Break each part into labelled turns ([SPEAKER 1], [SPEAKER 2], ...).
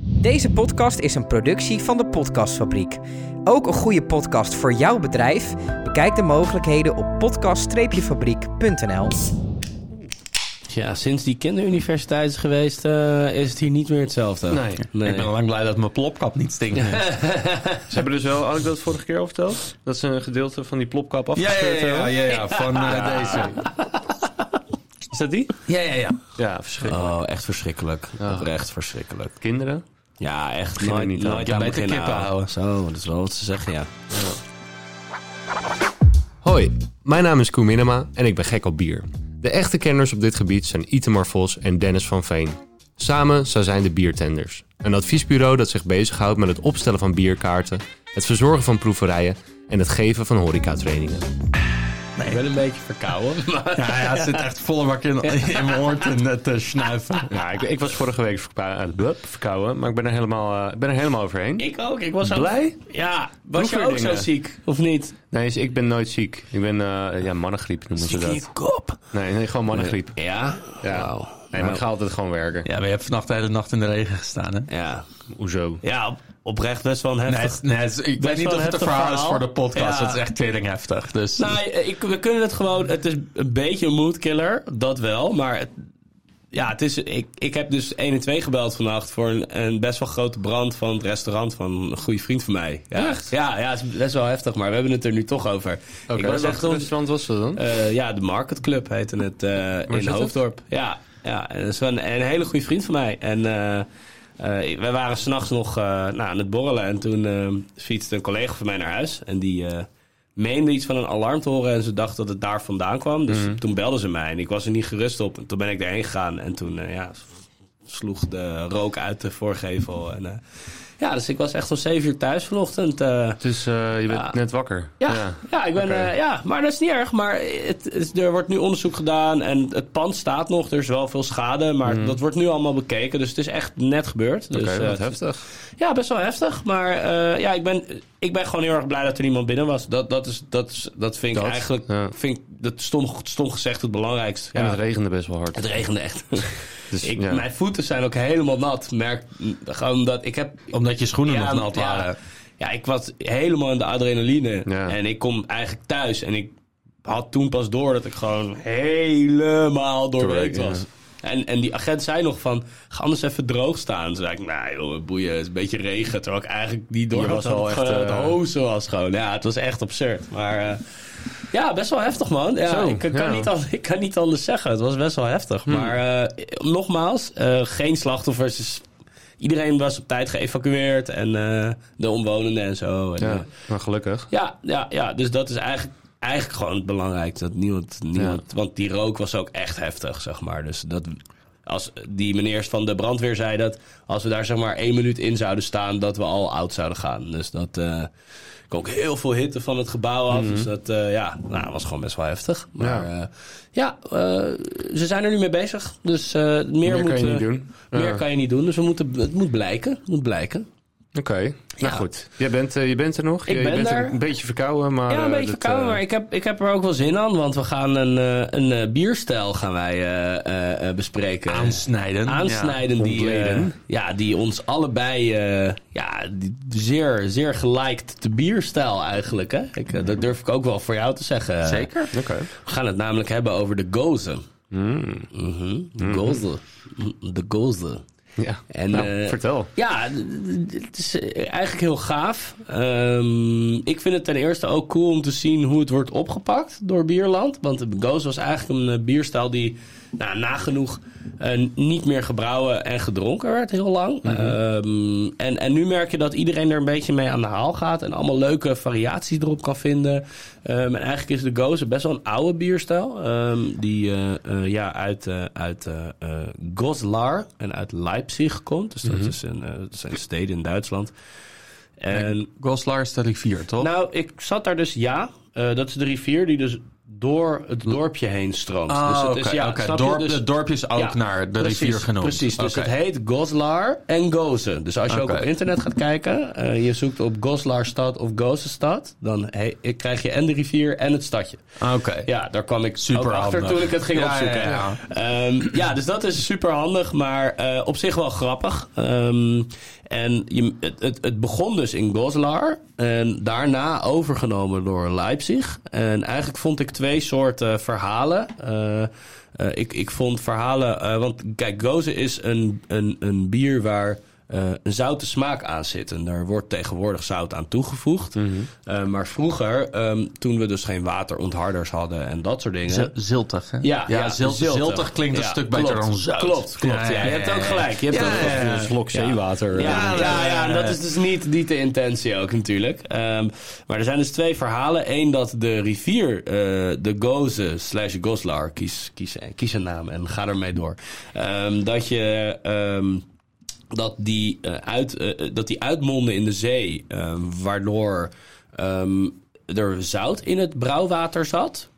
[SPEAKER 1] Deze podcast is een productie van de Podcastfabriek. Ook een goede podcast voor jouw bedrijf? Bekijk de mogelijkheden op podcast-fabriek.nl.
[SPEAKER 2] Ja, sinds die kinderuniversiteit is geweest, eh, is het hier niet meer hetzelfde.
[SPEAKER 3] Nee.
[SPEAKER 2] Nee.
[SPEAKER 3] Ik ben al lang blij dat mijn plopkap niet stinkt. Ja,
[SPEAKER 4] Ze hebben dus wel, had ik dat vorige keer al verteld? Dat ze een gedeelte van die plopkap
[SPEAKER 3] ja,
[SPEAKER 4] afgescheurd
[SPEAKER 3] ja,
[SPEAKER 4] hebben?
[SPEAKER 3] ja, ja, ja, van eh, deze.
[SPEAKER 4] Is dat die?
[SPEAKER 3] Ja, ja, ja.
[SPEAKER 4] Ja, verschrikkelijk.
[SPEAKER 2] Oh, echt verschrikkelijk. Echt verschrikkelijk.
[SPEAKER 4] Kinderen?
[SPEAKER 2] Ja, echt.
[SPEAKER 4] Begin er
[SPEAKER 2] Nooit,
[SPEAKER 4] niet aan.
[SPEAKER 2] nooit
[SPEAKER 4] Je
[SPEAKER 2] aan
[SPEAKER 4] moet
[SPEAKER 2] beginnen
[SPEAKER 3] kippen houden.
[SPEAKER 2] Zo, dat is wel wat ze zeggen, ja.
[SPEAKER 3] Hoi, mijn naam is Koen Minema en ik ben gek op bier. De echte kenners op dit gebied zijn Itemar Vos en Dennis van Veen. Samen zij zijn de Biertenders. Een adviesbureau dat zich bezighoudt met het opstellen van bierkaarten, het verzorgen van proeverijen en het geven van horecatrainingen.
[SPEAKER 2] Ik ben een beetje verkouden.
[SPEAKER 3] Ja, ja, het zit echt volle bak in, in mijn oor te, te snuiven.
[SPEAKER 4] Ja, ik, ik was vorige week verpa- blup, verkouden, maar ik ben er helemaal, eh, ik ben er helemaal overheen.
[SPEAKER 2] Ik ook. Ik was ook...
[SPEAKER 4] Blij?
[SPEAKER 2] Ja.
[SPEAKER 4] Doe
[SPEAKER 2] Was je
[SPEAKER 4] weer
[SPEAKER 2] ook
[SPEAKER 4] dingen.
[SPEAKER 2] zo ziek? Of niet?
[SPEAKER 4] Nee, dus ik ben nooit ziek. Ik ben, eh, ja, mannengriep noemen ze
[SPEAKER 2] Ziek in
[SPEAKER 4] dat.
[SPEAKER 2] je kop.
[SPEAKER 4] Nee, nee gewoon mannengriep.
[SPEAKER 2] Ja?
[SPEAKER 4] Ja.
[SPEAKER 2] Wauw. Nou.
[SPEAKER 4] Nee, maar ik ga altijd gewoon werken.
[SPEAKER 3] Ja, maar je hebt vannacht de hele nacht in de regen gestaan, hè?
[SPEAKER 2] Ja.
[SPEAKER 4] Hoezo?
[SPEAKER 2] Ja, op- oprecht best wel een
[SPEAKER 3] Nee,
[SPEAKER 2] heftig...
[SPEAKER 3] het- nee, het is- ik
[SPEAKER 2] Best
[SPEAKER 3] weet niet
[SPEAKER 2] wel
[SPEAKER 3] of het een
[SPEAKER 2] heftig
[SPEAKER 3] verhaal, is
[SPEAKER 2] verhaal.
[SPEAKER 3] voor de podcast.
[SPEAKER 2] Ja.
[SPEAKER 3] Het is echt tering heftig. Dus
[SPEAKER 2] Nou, ik, we kunnen het gewoon... Het is een beetje een moodkiller, dat wel. Maar het- ja, het is, ik, ik heb dus 1 en 2 gebeld vannacht voor een, een best wel grote brand van het restaurant van een goede vriend van mij. Ja,
[SPEAKER 4] Echt?
[SPEAKER 2] Ja, ja, het is best wel heftig, maar we hebben het er nu toch over.
[SPEAKER 4] Oké,
[SPEAKER 2] ik was
[SPEAKER 4] welk
[SPEAKER 2] echt op,
[SPEAKER 4] restaurant was dat dan?
[SPEAKER 2] eh, ja, de Market Club heette het eh,
[SPEAKER 4] zit
[SPEAKER 2] in
[SPEAKER 4] het?
[SPEAKER 2] Hoofddorp. Ja, ja, en dat is wel een, een hele goede vriend van mij. En eh, eh, wij waren s'nachts nog eh, nou, aan het borrelen en toen eh, fietste een collega van mij naar huis. En die eh, meende iets van een alarm te horen en ze dacht dat het daar vandaan kwam. Dus
[SPEAKER 4] Mhm.
[SPEAKER 2] toen belden ze mij en ik was er niet gerust op. En toen ben ik erheen gegaan en toen eh, ja, sloeg de rook uit de voorgevel. En, eh, ja, dus ik was echt om zeven uur thuis vanochtend. eh,
[SPEAKER 4] Dus eh, je bent
[SPEAKER 3] Ah.
[SPEAKER 2] Ja.
[SPEAKER 4] net wakker.
[SPEAKER 2] ja, ja. ik ben,
[SPEAKER 4] Oké.
[SPEAKER 2] eh, ja, maar dat is niet erg. Maar het, is- er wordt nu onderzoek gedaan en het pand staat nog. Er is wel veel schade, maar dat wordt nu allemaal bekeken. Dus het is echt net gebeurd. Dus,
[SPEAKER 4] Mhm. Oké,
[SPEAKER 2] eh,
[SPEAKER 4] wat
[SPEAKER 2] het-
[SPEAKER 4] heftig.
[SPEAKER 2] Ja, best wel heftig. Maar eh, ja, ik ben, ik ben gewoon heel erg blij dat er niemand binnen was. Dat, dat, is, dat, is, dat vind ik
[SPEAKER 4] Dat,
[SPEAKER 2] eigenlijk,
[SPEAKER 4] ja.
[SPEAKER 2] vind ik, dat stom, stom gezegd, het belangrijkste.
[SPEAKER 4] En
[SPEAKER 2] Ja.
[SPEAKER 4] het regende best wel hard.
[SPEAKER 2] Het regende echt.
[SPEAKER 4] Dus,
[SPEAKER 2] ik,
[SPEAKER 4] ja.
[SPEAKER 2] Mijn voeten zijn ook helemaal nat. Merk, gewoon dat ik heb
[SPEAKER 3] omdat je schoenen nog nat
[SPEAKER 2] ja,
[SPEAKER 3] waren.
[SPEAKER 2] Ja, ik was helemaal in de adrenaline.
[SPEAKER 4] Ja.
[SPEAKER 2] En ik kom eigenlijk thuis. En ik had toen pas door dat ik gewoon helemaal doorweekt
[SPEAKER 4] Doorweekt,
[SPEAKER 2] was. En, en die agent zei nog van, ga anders even droog staan. Toen zei ik, nou joh, boeien, het is een beetje regen. Terwijl ik eigenlijk die door
[SPEAKER 4] Je
[SPEAKER 2] was
[SPEAKER 4] was wel
[SPEAKER 2] al
[SPEAKER 4] echt,
[SPEAKER 2] echt
[SPEAKER 4] eh,
[SPEAKER 2] het hozen was gewoon. Ja, het was echt absurd. Maar eh, ja, best wel heftig man. Ja,
[SPEAKER 4] Zo,
[SPEAKER 2] ik, kan
[SPEAKER 4] ja. Hmm.
[SPEAKER 2] niet anders, ik kan niet anders zeggen. Het was best wel heftig. Maar eh, nogmaals, eh, geen slachtoffers. Dus iedereen was op tijd geëvacueerd. En eh, de omwonenden en zo. En, eh,
[SPEAKER 4] Ja,
[SPEAKER 3] Nou,
[SPEAKER 4] maar gelukkig.
[SPEAKER 2] ja, ja, ja, dus dat is eigenlijk, eigenlijk gewoon het belangrijkste. Dat niemand, niemand, Want die rook was ook echt heftig, zeg maar. Dus dat, als die meneer van de brandweer zei dat als we daar zeg maar één minuut in zouden staan, dat we al oud zouden gaan. Dus dat eh kwam ook heel veel hitte van het gebouw af. Dus dat eh, ja, nou, was gewoon best wel heftig. Maar
[SPEAKER 4] Mhm. Ja.
[SPEAKER 2] ja, ja eh, ze zijn er nu mee bezig. Dus eh, meer,
[SPEAKER 4] Meer
[SPEAKER 2] moet,
[SPEAKER 4] kan je
[SPEAKER 2] eh,
[SPEAKER 4] niet doen.
[SPEAKER 2] Meer
[SPEAKER 4] Ja.
[SPEAKER 2] kan je niet doen. Dus we moeten, het moet blijken. Het moet blijken.
[SPEAKER 4] Oké, nou
[SPEAKER 2] Ja.
[SPEAKER 4] goed. Jij bent, eh, je bent er nog.
[SPEAKER 2] Ik
[SPEAKER 4] je, je
[SPEAKER 2] ben
[SPEAKER 4] bent
[SPEAKER 2] er.
[SPEAKER 4] een beetje verkouden, maar...
[SPEAKER 2] Ja,
[SPEAKER 4] eh,
[SPEAKER 2] een beetje
[SPEAKER 4] dat,
[SPEAKER 2] verkouden,
[SPEAKER 4] eh,
[SPEAKER 2] maar ik heb, ik heb er ook wel zin aan. Want we gaan een, eh, een eh, bierstijl gaan wij eh, eh, eh, bespreken.
[SPEAKER 3] Aansnijden.
[SPEAKER 2] Aansnijden
[SPEAKER 3] Ja,
[SPEAKER 2] die, eh,
[SPEAKER 3] ontleden.
[SPEAKER 2] ja, die ons allebei eh, ja, die- zeer, zeer gelijkt de bierstijl eigenlijk. Hè? Ik, eh, dat durf ik ook wel voor jou te zeggen.
[SPEAKER 3] Zeker.
[SPEAKER 4] Oké.
[SPEAKER 2] We gaan het namelijk hebben over de gozen.
[SPEAKER 4] Mm.
[SPEAKER 2] Mhm, De gozen. Mm, De gozen.
[SPEAKER 4] Mm-hmm. Ja,
[SPEAKER 2] En,
[SPEAKER 4] nou,
[SPEAKER 2] eh,
[SPEAKER 4] vertel.
[SPEAKER 2] Ja, d- d- d- het is eh, eigenlijk heel gaaf. Ehm, ik vind het ten eerste ook cool om te zien hoe het wordt opgepakt door Bierland. Want de Goos was eigenlijk een eh, bierstijl die nou, nagenoeg eh, niet meer gebrouwen en gedronken werd heel lang. Ehm, en, en nu merk je dat iedereen er een beetje mee aan de haal gaat. En allemaal leuke variaties erop kan vinden. Ehm, en eigenlijk is de Goos best wel een oude bierstijl. ehm, die eh, eh, ja, uit, eh, uit eh eh, Goslar en uit Leipzig komt. Dus dat,
[SPEAKER 5] Mhm.
[SPEAKER 2] is een, eh, dat zijn steden in Duitsland. nou, En
[SPEAKER 3] Goslar is de rivier, toch?
[SPEAKER 2] nou, ik zat daar dus ja. eh, dat is de rivier die dus door het dorpje heen stroomt. dus
[SPEAKER 5] Ah,
[SPEAKER 2] het
[SPEAKER 5] oké.
[SPEAKER 2] is, ja,
[SPEAKER 5] oké.
[SPEAKER 2] snap je?
[SPEAKER 5] Dorp,
[SPEAKER 2] Dus-
[SPEAKER 5] het dorpje is ook
[SPEAKER 2] ja,
[SPEAKER 5] naar de
[SPEAKER 2] precies,
[SPEAKER 5] rivier genoemd.
[SPEAKER 2] Precies, dus
[SPEAKER 5] Oké.
[SPEAKER 2] het heet Goslar en Gozen. Dus als je
[SPEAKER 5] Oké.
[SPEAKER 2] ook op internet gaat kijken, eh, je zoekt op Goslarstad of Gozenstad, dan he- krijg je en de rivier en het stadje.
[SPEAKER 5] Oké.
[SPEAKER 2] Ja, daar kwam ik
[SPEAKER 5] Super
[SPEAKER 2] super achter
[SPEAKER 5] handig.
[SPEAKER 2] toen ik het ging
[SPEAKER 5] Ah. Ja,
[SPEAKER 2] opzoeken.
[SPEAKER 5] ja, ja.
[SPEAKER 2] Ja, ja, dus dat is super handig, maar eh, op zich wel grappig. Ehm, en je, het, het, het begon dus in Goslar en daarna overgenomen door Leipzig. En eigenlijk vond ik twee soorten verhalen. Eh, eh, ik, ik vond verhalen, eh, want kijk, Gozen is een, een, een bier waar eh, een zoute smaak aan zit. En daar wordt tegenwoordig zout aan toegevoegd. Eh, maar vroeger, ehm, toen we dus geen waterontharders hadden en dat soort dingen.
[SPEAKER 5] Ziltig, hè?
[SPEAKER 2] Ja, ja,
[SPEAKER 5] zil- ziltig. klinkt een
[SPEAKER 2] Ja,
[SPEAKER 5] stuk beter
[SPEAKER 2] klopt.
[SPEAKER 5] dan zout.
[SPEAKER 2] Klopt, klopt. Ja, je hebt ook gelijk. Je hebt ook gelijk.
[SPEAKER 5] ja.
[SPEAKER 4] Vlok zeewater.
[SPEAKER 2] Ja, ja, ja, en dat is dus niet, niet de intentie ook natuurlijk. Ehm, maar er zijn dus twee verhalen. Eén dat de rivier eh, de Goze slash Goslar, kies, kies, kies een naam en ga ermee door. Ehm, dat je... ehm, dat die, eh, uit, eh, dat die uitmonden in de zee, ehm, waardoor ehm, er zout in het brouwwater zat.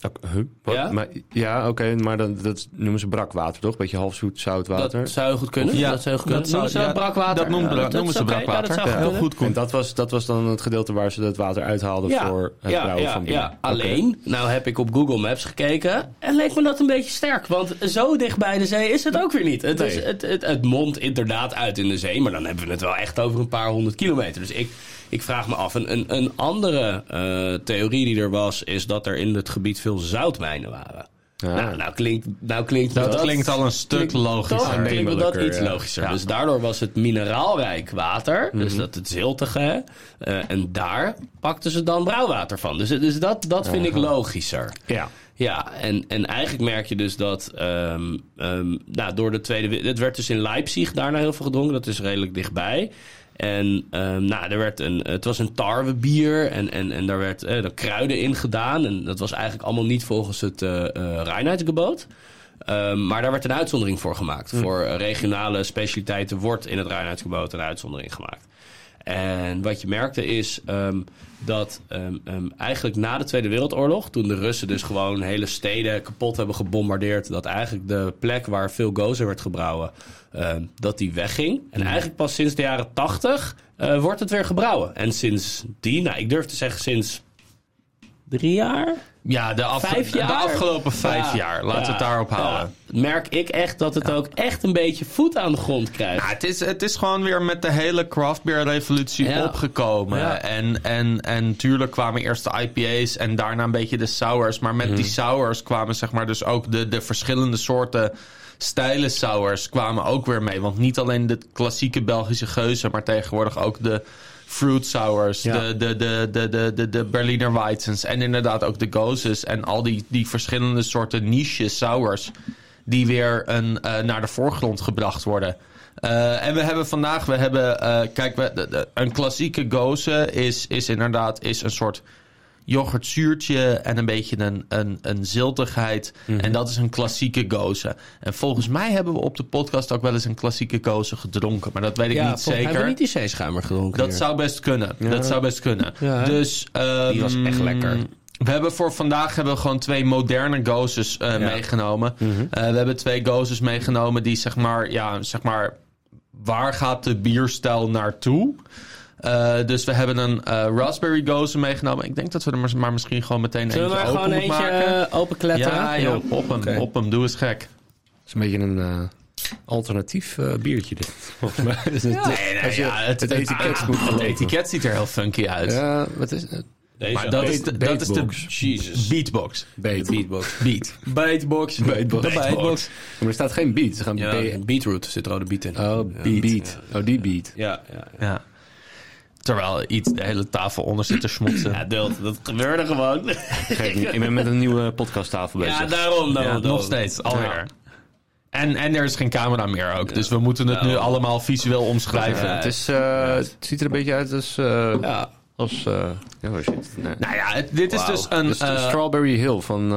[SPEAKER 3] Oké, huh? Wat?
[SPEAKER 2] Ja?
[SPEAKER 3] Maar- Ja, oké, maar dat, dat noemen ze brakwater, toch? Beetje halfzoet
[SPEAKER 2] Dat
[SPEAKER 3] zoutwater.
[SPEAKER 2] zou heel goed kunnen.
[SPEAKER 5] Ja,
[SPEAKER 2] dat zou heel goed kunnen.
[SPEAKER 5] dat zou-
[SPEAKER 2] Noemen ze dat
[SPEAKER 5] ja,
[SPEAKER 2] brakwater?
[SPEAKER 5] dat
[SPEAKER 2] Ja,
[SPEAKER 5] noemen- dat noemen
[SPEAKER 2] is
[SPEAKER 5] ze
[SPEAKER 2] oké.
[SPEAKER 5] brakwater.
[SPEAKER 2] Ja, dat zou
[SPEAKER 5] Ja.
[SPEAKER 2] goed kunnen.
[SPEAKER 5] Goed,
[SPEAKER 3] En dat was, dat was dan het gedeelte waar ze dat water uithaalden voor het brouwen van bier.
[SPEAKER 2] ja.
[SPEAKER 3] Oké.
[SPEAKER 2] Alleen, nou heb ik op Google Maps gekeken en leek me dat een beetje sterk. Want zo dicht bij de zee is het ook weer niet. Het, is,
[SPEAKER 3] Nee.
[SPEAKER 2] het, het, het mondt inderdaad uit in de zee, maar dan hebben we het wel echt over een paar honderd kilometer. Dus ik, ik vraag me af. Een, een, een andere eh, theorie die er was, is dat er in het gebied veel zoutmijnen waren. Nou, nou klinkt, nou klinkt me
[SPEAKER 5] Dat, klinkt al een stuk
[SPEAKER 2] toch
[SPEAKER 5] logischer.
[SPEAKER 2] klinkt me dat
[SPEAKER 3] aannemelijker,
[SPEAKER 2] iets
[SPEAKER 3] ja. Mhm.
[SPEAKER 2] logischer. Dus daardoor was het mineraalrijk water. Dus dat het ziltige. hè. Eh, en daar pakten ze dan brouwwater van. Dus, dus dat, dat vind ik logischer.
[SPEAKER 3] Ja.
[SPEAKER 2] Ja, en, en eigenlijk merk je dus dat ehm, ehm, nou, door de Tweede Wereld... Het werd dus in Leipzig daarna heel veel gedronken. Dat is redelijk dichtbij. En ehm, nou, er werd een, het was een tarwebier en, en, en daar werd eh, er kruiden in gedaan. En dat was eigenlijk allemaal niet volgens het eh eh, reinheidsgebod. Ehm, maar daar werd een uitzondering voor gemaakt. Voor eh, regionale specialiteiten wordt in het reinheidsgebod een uitzondering gemaakt. En wat je merkte is ehm, dat ehm, ehm, eigenlijk na de Tweede Wereldoorlog, toen de Russen dus gewoon hele steden kapot hebben gebombardeerd, dat eigenlijk de plek waar veel gozer werd gebrouwen, ehm, dat die wegging. En eigenlijk pas sinds de jaren tachtig eh, wordt het weer gebrouwen. En sinds die, nou ik durf te zeggen sinds drie jaar,
[SPEAKER 5] Ja, de, afge-
[SPEAKER 2] vijf
[SPEAKER 5] de
[SPEAKER 2] jaar?
[SPEAKER 5] afgelopen vijf
[SPEAKER 2] Ja,
[SPEAKER 5] jaar. Laten we
[SPEAKER 2] ja,
[SPEAKER 5] het daarop houden.
[SPEAKER 2] ja, merk ik echt dat het ook echt een beetje voet aan de grond krijgt.
[SPEAKER 5] Ja, het, is, het is gewoon weer met de hele craft beer revolutie
[SPEAKER 2] Ja.
[SPEAKER 5] opgekomen.
[SPEAKER 2] Ja.
[SPEAKER 5] En, en, en tuurlijk kwamen eerst de IPA's en daarna een beetje de sours. Maar
[SPEAKER 2] Mhm.
[SPEAKER 5] met die sours kwamen zeg maar dus ook de, de verschillende soorten stijle sours kwamen ook weer mee. Want niet alleen de klassieke Belgische geuzen, maar tegenwoordig ook de fruit sours, de, de, de, de, de, de, de Berliner Weizens en inderdaad ook de gozes en al die, die verschillende soorten niche sours die weer een, eh, naar de voorgrond gebracht worden. Eh, en we hebben vandaag, we hebben, eh, kijk, we, de- de- een klassieke goze is, is inderdaad is een soort yoghurtzuurtje en een beetje een, een, een ziltigheid. En dat is een klassieke goze. En volgens mij hebben we op de podcast ook wel eens een klassieke goze gedronken, maar dat weet ik niet zeker.
[SPEAKER 2] niet die zeeschuimer gedronken.
[SPEAKER 5] Dat zou best kunnen. Dat zou best kunnen.
[SPEAKER 2] Ja, hè?
[SPEAKER 5] dus, ehm,
[SPEAKER 2] Die was echt lekker.
[SPEAKER 5] We hebben voor vandaag hebben we gewoon twee moderne gozes eh, meegenomen.
[SPEAKER 2] Mhm.
[SPEAKER 5] Eh, we hebben twee gozes meegenomen die zeg maar, ja, zeg maar, waar gaat de bierstijl naartoe? Eh, dus we hebben een eh, raspberry gozer meegenomen. Ik denk dat we er maar, maar misschien gewoon meteen
[SPEAKER 2] Zullen we
[SPEAKER 5] eentje
[SPEAKER 2] maar
[SPEAKER 5] open
[SPEAKER 2] gewoon
[SPEAKER 5] moeten
[SPEAKER 2] eentje
[SPEAKER 5] maken.
[SPEAKER 2] eh, open kletteren?
[SPEAKER 5] Ja, joh, op hem,
[SPEAKER 2] Oké.
[SPEAKER 5] op hem. Doe eens gek.
[SPEAKER 3] Dat is een beetje een eh, alternatief eh, biertje dit, volgens mij. Dus het-
[SPEAKER 5] Nee, nee, ja, het,
[SPEAKER 3] het etiket
[SPEAKER 5] ah,
[SPEAKER 3] moet
[SPEAKER 5] het
[SPEAKER 3] gelopen.
[SPEAKER 5] etiket ziet er heel funky uit.
[SPEAKER 3] Ja, wat is het?
[SPEAKER 2] Deze
[SPEAKER 5] Maar dat is, de, dat is de
[SPEAKER 3] Beatbox.
[SPEAKER 2] Jesus.
[SPEAKER 5] beatbox.
[SPEAKER 3] Beet.
[SPEAKER 2] Beatbox.
[SPEAKER 5] Beat.
[SPEAKER 2] Beatbox.
[SPEAKER 3] Beatbox.
[SPEAKER 2] De beatbox.
[SPEAKER 3] Maar er staat geen beat. Ze gaan
[SPEAKER 2] Ja,
[SPEAKER 3] be-
[SPEAKER 2] beetroot zit rode beat in.
[SPEAKER 3] Oh, beat. Oh, die beat.
[SPEAKER 2] Ja, ja.
[SPEAKER 5] Ja. Terwijl iets de hele tafel onder zit te schmutsen.
[SPEAKER 2] Ja, deelt. Dat gebeurde gewoon.
[SPEAKER 3] Geef niet. Ik ben met een nieuwe podcasttafel bezig.
[SPEAKER 2] ja, daarom,
[SPEAKER 5] Ja,
[SPEAKER 2] daarom.
[SPEAKER 5] nog
[SPEAKER 2] daarom.
[SPEAKER 5] steeds, alweer. En, en er is geen camera meer ook. Dus we moeten het nu
[SPEAKER 2] Ja.
[SPEAKER 5] allemaal visueel omschrijven.
[SPEAKER 3] Ja, het, is, eh, het ziet er een beetje uit als... eh,
[SPEAKER 2] Ja.
[SPEAKER 3] als eh, ja, oh shit. Nee.
[SPEAKER 5] Nou ja, het- dit is dus een...
[SPEAKER 3] Dus de
[SPEAKER 5] eh,
[SPEAKER 3] Strawberry Hill van...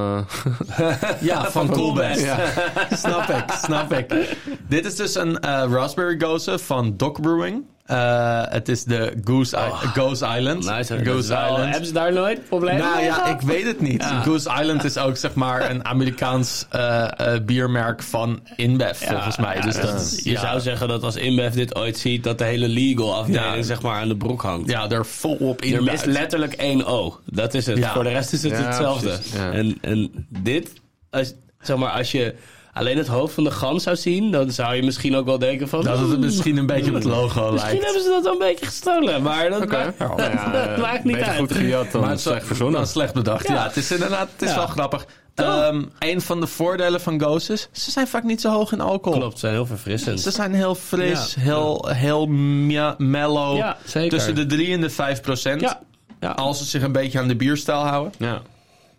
[SPEAKER 3] eh,
[SPEAKER 5] ja, van Coolbest.
[SPEAKER 3] ja.
[SPEAKER 5] snap ik, snap ik. Dit is dus een eh, raspberry gozer van Doc Brewing. Eh, Eh, het is de Goose, I- Goose Island.
[SPEAKER 2] Nice.
[SPEAKER 5] Goose
[SPEAKER 2] Goes Hebben ze daar nooit problemen
[SPEAKER 5] Nou
[SPEAKER 2] mee
[SPEAKER 5] ja,
[SPEAKER 2] gehad?
[SPEAKER 5] ik weet het niet. Goose Island is ook zeg maar een Amerikaans eh, eh, biermerk van Inbev, volgens mij.
[SPEAKER 2] Ja,
[SPEAKER 5] dus
[SPEAKER 2] dat
[SPEAKER 5] dat,
[SPEAKER 2] is- je
[SPEAKER 5] ja.
[SPEAKER 2] zou zeggen dat als InBev dit ooit ziet, dat de hele legal afdeling
[SPEAKER 5] Ja.
[SPEAKER 2] zeg maar aan de broek hangt.
[SPEAKER 5] ja, er volop in.
[SPEAKER 2] Er mist letterlijk één O. Dat is het.
[SPEAKER 5] Ja.
[SPEAKER 2] Voor de rest is het
[SPEAKER 3] Ja,
[SPEAKER 2] hetzelfde.
[SPEAKER 3] precies. Ja.
[SPEAKER 2] En, en dit, als, zeg maar, als je alleen het hoofd van de gans zou zien, dan zou je misschien ook wel denken van...
[SPEAKER 5] Dat het
[SPEAKER 2] "Hmm,
[SPEAKER 5] misschien een beetje op het logo
[SPEAKER 2] misschien
[SPEAKER 5] lijkt.
[SPEAKER 2] hebben ze dat wel een beetje gestolen, maar dat,
[SPEAKER 4] Oké.
[SPEAKER 2] maakt,
[SPEAKER 4] Nou
[SPEAKER 2] dat,
[SPEAKER 4] ja,
[SPEAKER 2] dat maakt niet
[SPEAKER 4] beter
[SPEAKER 2] uit.
[SPEAKER 4] goed gejat dan
[SPEAKER 5] het is
[SPEAKER 4] slecht
[SPEAKER 5] ook-
[SPEAKER 4] verzonnen.
[SPEAKER 5] dan slecht bedacht. Ja,
[SPEAKER 2] Ja.
[SPEAKER 5] het is inderdaad het is
[SPEAKER 2] Ja. Oh.
[SPEAKER 5] wel grappig. Ehm een van de voordelen van Goose is, ze zijn vaak niet zo hoog in alcohol.
[SPEAKER 2] Klopt, ze zijn heel verfrissend.
[SPEAKER 5] Ze zijn heel fris,
[SPEAKER 2] Ja.
[SPEAKER 5] heel, heel mia- mellow.
[SPEAKER 2] Ja, zeker.
[SPEAKER 5] Tussen de 3 en de 5 procent.
[SPEAKER 2] Ja. Ja.
[SPEAKER 5] Als ze zich een beetje aan de bierstijl houden.
[SPEAKER 4] Ja. Ik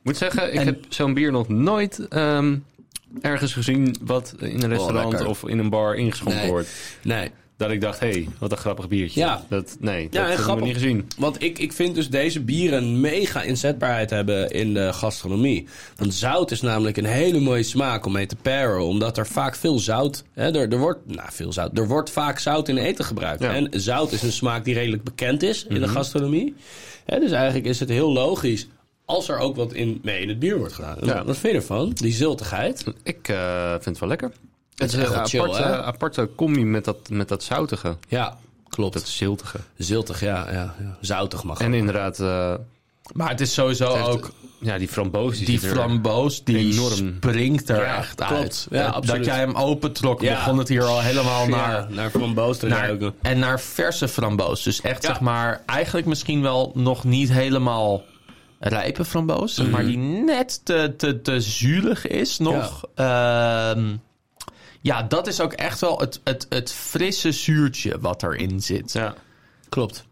[SPEAKER 4] moet zeggen, ik
[SPEAKER 5] En-
[SPEAKER 4] heb zo'n bier nog nooit ehm, ergens gezien wat in een
[SPEAKER 3] Oh,
[SPEAKER 4] restaurant
[SPEAKER 2] lekker.
[SPEAKER 4] of in een bar ingeschonken
[SPEAKER 2] Nee.
[SPEAKER 4] wordt.
[SPEAKER 2] Nee.
[SPEAKER 4] Dat ik dacht, hé, hey, wat een grappig biertje.
[SPEAKER 2] Ja.
[SPEAKER 4] Dat,
[SPEAKER 2] Ja,
[SPEAKER 4] nee, dat
[SPEAKER 2] en
[SPEAKER 4] hebben we
[SPEAKER 2] grappig.
[SPEAKER 4] niet gezien.
[SPEAKER 2] Want ik, ik vind dus deze bieren mega inzetbaarheid hebben in de gastronomie. Want zout is namelijk een hele mooie smaak om mee te paren. Omdat er vaak veel zout... Hè, er, er, wordt, nou, veel zout er wordt vaak zout in eten gebruikt.
[SPEAKER 4] Ja.
[SPEAKER 2] En zout is een smaak die redelijk bekend is in de gastronomie. Hè, dus eigenlijk is het heel logisch... als er ook wat in, mee in het bier wordt gedaan.
[SPEAKER 4] Ja.
[SPEAKER 2] Wat vind je ervan? Die ziltigheid.
[SPEAKER 4] Ik eh, vind het wel lekker. Het is
[SPEAKER 3] Eh,
[SPEAKER 2] echt
[SPEAKER 4] een
[SPEAKER 2] wel chill,
[SPEAKER 4] aparte,
[SPEAKER 2] hè?
[SPEAKER 4] aparte combi met dat, met dat zoutige.
[SPEAKER 2] Ja, klopt.
[SPEAKER 4] Dat ziltige.
[SPEAKER 2] Ziltig, ja. ja, ja. Zoutig mag
[SPEAKER 4] En
[SPEAKER 2] ook.
[SPEAKER 4] inderdaad, eh,
[SPEAKER 5] Maar het is sowieso
[SPEAKER 4] echt,
[SPEAKER 5] ook
[SPEAKER 4] ja, die framboos. Die,
[SPEAKER 5] die
[SPEAKER 4] zit er-
[SPEAKER 5] framboos die
[SPEAKER 4] enorm.
[SPEAKER 5] springt er
[SPEAKER 2] Ja,
[SPEAKER 5] echt
[SPEAKER 2] klopt.
[SPEAKER 5] uit.
[SPEAKER 2] Ja,
[SPEAKER 5] Dat-
[SPEAKER 2] absoluut.
[SPEAKER 5] dat jij hem opentrok,
[SPEAKER 2] Ja.
[SPEAKER 5] begon het hier al helemaal naar,
[SPEAKER 2] Ja, naar framboos te
[SPEAKER 5] naar.
[SPEAKER 2] ruiken.
[SPEAKER 5] En naar verse framboos. Dus echt
[SPEAKER 2] Ja.
[SPEAKER 5] zeg maar, eigenlijk misschien wel nog niet helemaal rijpe framboos. zeg Maar die net te, te, te zuurig is nog. Ehm, ja, dat is ook echt wel het, het, het frisse zuurtje wat erin zit.
[SPEAKER 4] Ja.
[SPEAKER 2] Klopt.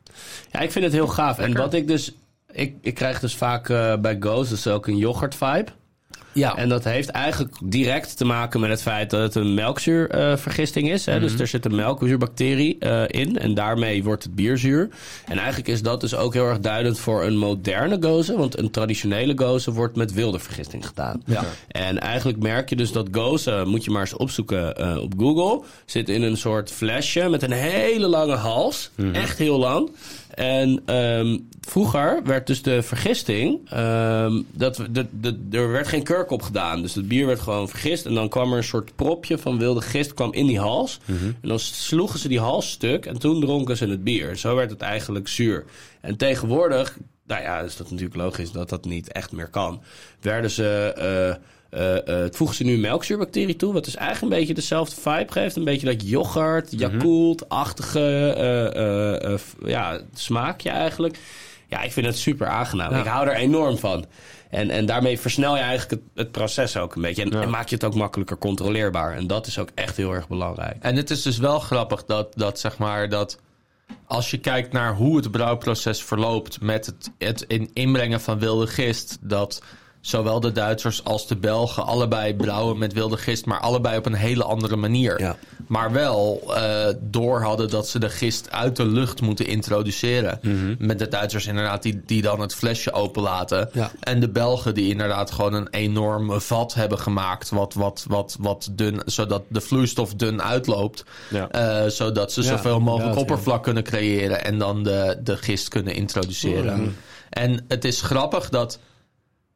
[SPEAKER 2] Ja, ik vind het heel gaaf. En wat ik dus... Ik, ik krijg dus vaak eh, bij Ghost dus ook een yoghurt vibe.
[SPEAKER 5] Ja.
[SPEAKER 2] En dat heeft eigenlijk direct te maken met het feit dat het een melkzuurvergisting is. Hè?
[SPEAKER 5] Mhm.
[SPEAKER 2] Dus er zit een melkzuurbacterie eh, in en daarmee wordt het bier zuur. En eigenlijk is dat dus ook heel erg duidend voor een moderne gozer. Want een traditionele gozer wordt met wilde vergisting gedaan.
[SPEAKER 5] Ja.
[SPEAKER 2] En eigenlijk merk je dus dat gozer, moet je maar eens opzoeken eh, op Google, zit in een soort flesje met een hele lange hals. Echt heel lang. En ehm, vroeger werd dus de vergisting, ehm, dat, we- dat, dat- er werd geen kurk op gedaan. Dus het bier werd gewoon vergist. En dan kwam er een soort propje van wilde gist kwam in die hals. En dan sloegen ze die hals stuk en toen dronken ze het bier. Zo werd het eigenlijk zuur. En tegenwoordig, nou ja, is dat natuurlijk logisch dat dat niet echt meer kan. Werden ze... eh, eh, eh, het voegen ze nu melkzuurbacterie toe, wat dus eigenlijk een beetje dezelfde vibe geeft. Een beetje dat yoghurt, Yakult-achtige eh, eh, eh, f- ja, smaakje eigenlijk. Ja, ik vind het super aangenaam. Ik hou er enorm van. En, en daarmee versnel je eigenlijk het, het proces ook een beetje. En, en maak je het ook makkelijker controleerbaar. En dat is ook echt heel erg belangrijk.
[SPEAKER 5] En het is dus wel grappig dat, dat zeg maar dat als je kijkt naar hoe het brouwproces verloopt met het, het in inbrengen van wilde gist, dat zowel de Duitsers als de Belgen allebei brouwen met wilde gist, maar allebei op een hele andere manier.
[SPEAKER 2] Ja.
[SPEAKER 5] Maar wel eh, door hadden dat ze de gist uit de lucht moeten introduceren.
[SPEAKER 2] Mhm.
[SPEAKER 5] Met de Duitsers inderdaad die, die dan het flesje openlaten.
[SPEAKER 2] Ja.
[SPEAKER 5] En de Belgen die inderdaad gewoon een enorm vat hebben gemaakt. Wat, wat, wat, wat dun, zodat de vloeistof dun uitloopt.
[SPEAKER 4] Ja.
[SPEAKER 5] Eh, zodat ze
[SPEAKER 2] Ja,
[SPEAKER 5] zoveel mogelijk
[SPEAKER 2] inderdaad, ja.
[SPEAKER 5] oppervlak kunnen creëren. En dan de, de gist kunnen introduceren.
[SPEAKER 2] Mm-hmm.
[SPEAKER 5] En het is grappig dat...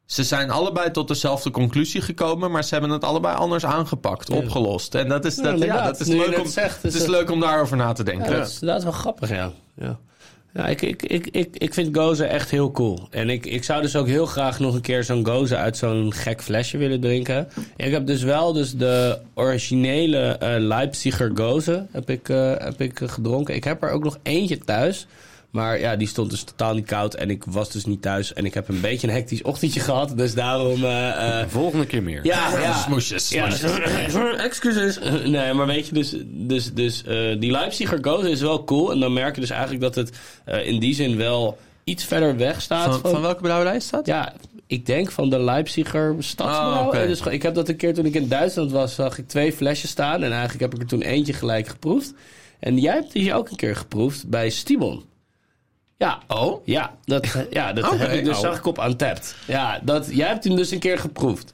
[SPEAKER 5] Ze zijn allebei tot dezelfde conclusie gekomen, maar ze hebben het allebei anders aangepakt, opgelost. En dat is, dat, ja,
[SPEAKER 2] inderdaad.
[SPEAKER 5] dat is
[SPEAKER 2] Nu je
[SPEAKER 5] leuk
[SPEAKER 2] dat
[SPEAKER 5] om,
[SPEAKER 2] zegt, is
[SPEAKER 5] het is
[SPEAKER 2] het-
[SPEAKER 5] leuk om daarover na te denken.
[SPEAKER 2] Ja, dat, is, dat is wel grappig, ja. ja. Ja, ik, ik, ik, ik, ik vind gozer echt heel cool. En ik, ik zou dus ook heel graag nog een keer zo'n gozer uit zo'n gek flesje willen drinken. Ik heb dus wel dus de originele eh, Leipziger gozer heb ik, eh, heb ik eh, gedronken. Ik heb er ook nog eentje thuis. Maar ja, die stond dus totaal niet koud en ik was dus niet thuis. En ik heb een beetje een hectisch ochtendje gehad. Dus daarom... eh, eh,
[SPEAKER 4] Volgende keer meer.
[SPEAKER 2] ja, ja.
[SPEAKER 5] Smoesjes,
[SPEAKER 2] Ja, excuses. Nee, maar weet je, dus, dus, dus eh, die Leipziger Gozer is wel cool. En dan merk je dus eigenlijk dat het eh, in die zin wel iets verder weg staat.
[SPEAKER 5] Van, van welke brouwerij is dat?
[SPEAKER 2] ja, ik denk van de Leipziger Stadsbrouw.
[SPEAKER 5] Ah, oké.
[SPEAKER 2] Eh, dus, gewoon- ik heb dat een keer toen ik in Duitsland was, zag ik twee flesjes staan. En eigenlijk heb ik er toen eentje gelijk geproefd. En jij hebt die ook een keer geproefd bij Stimon. Ja,
[SPEAKER 5] Oh?
[SPEAKER 2] ja, dat, ja, dat
[SPEAKER 5] Oké.
[SPEAKER 2] heb ik dus,
[SPEAKER 5] Oh.
[SPEAKER 2] zag ik op Untapped. Ja, dat, jij hebt hem dus een keer geproefd.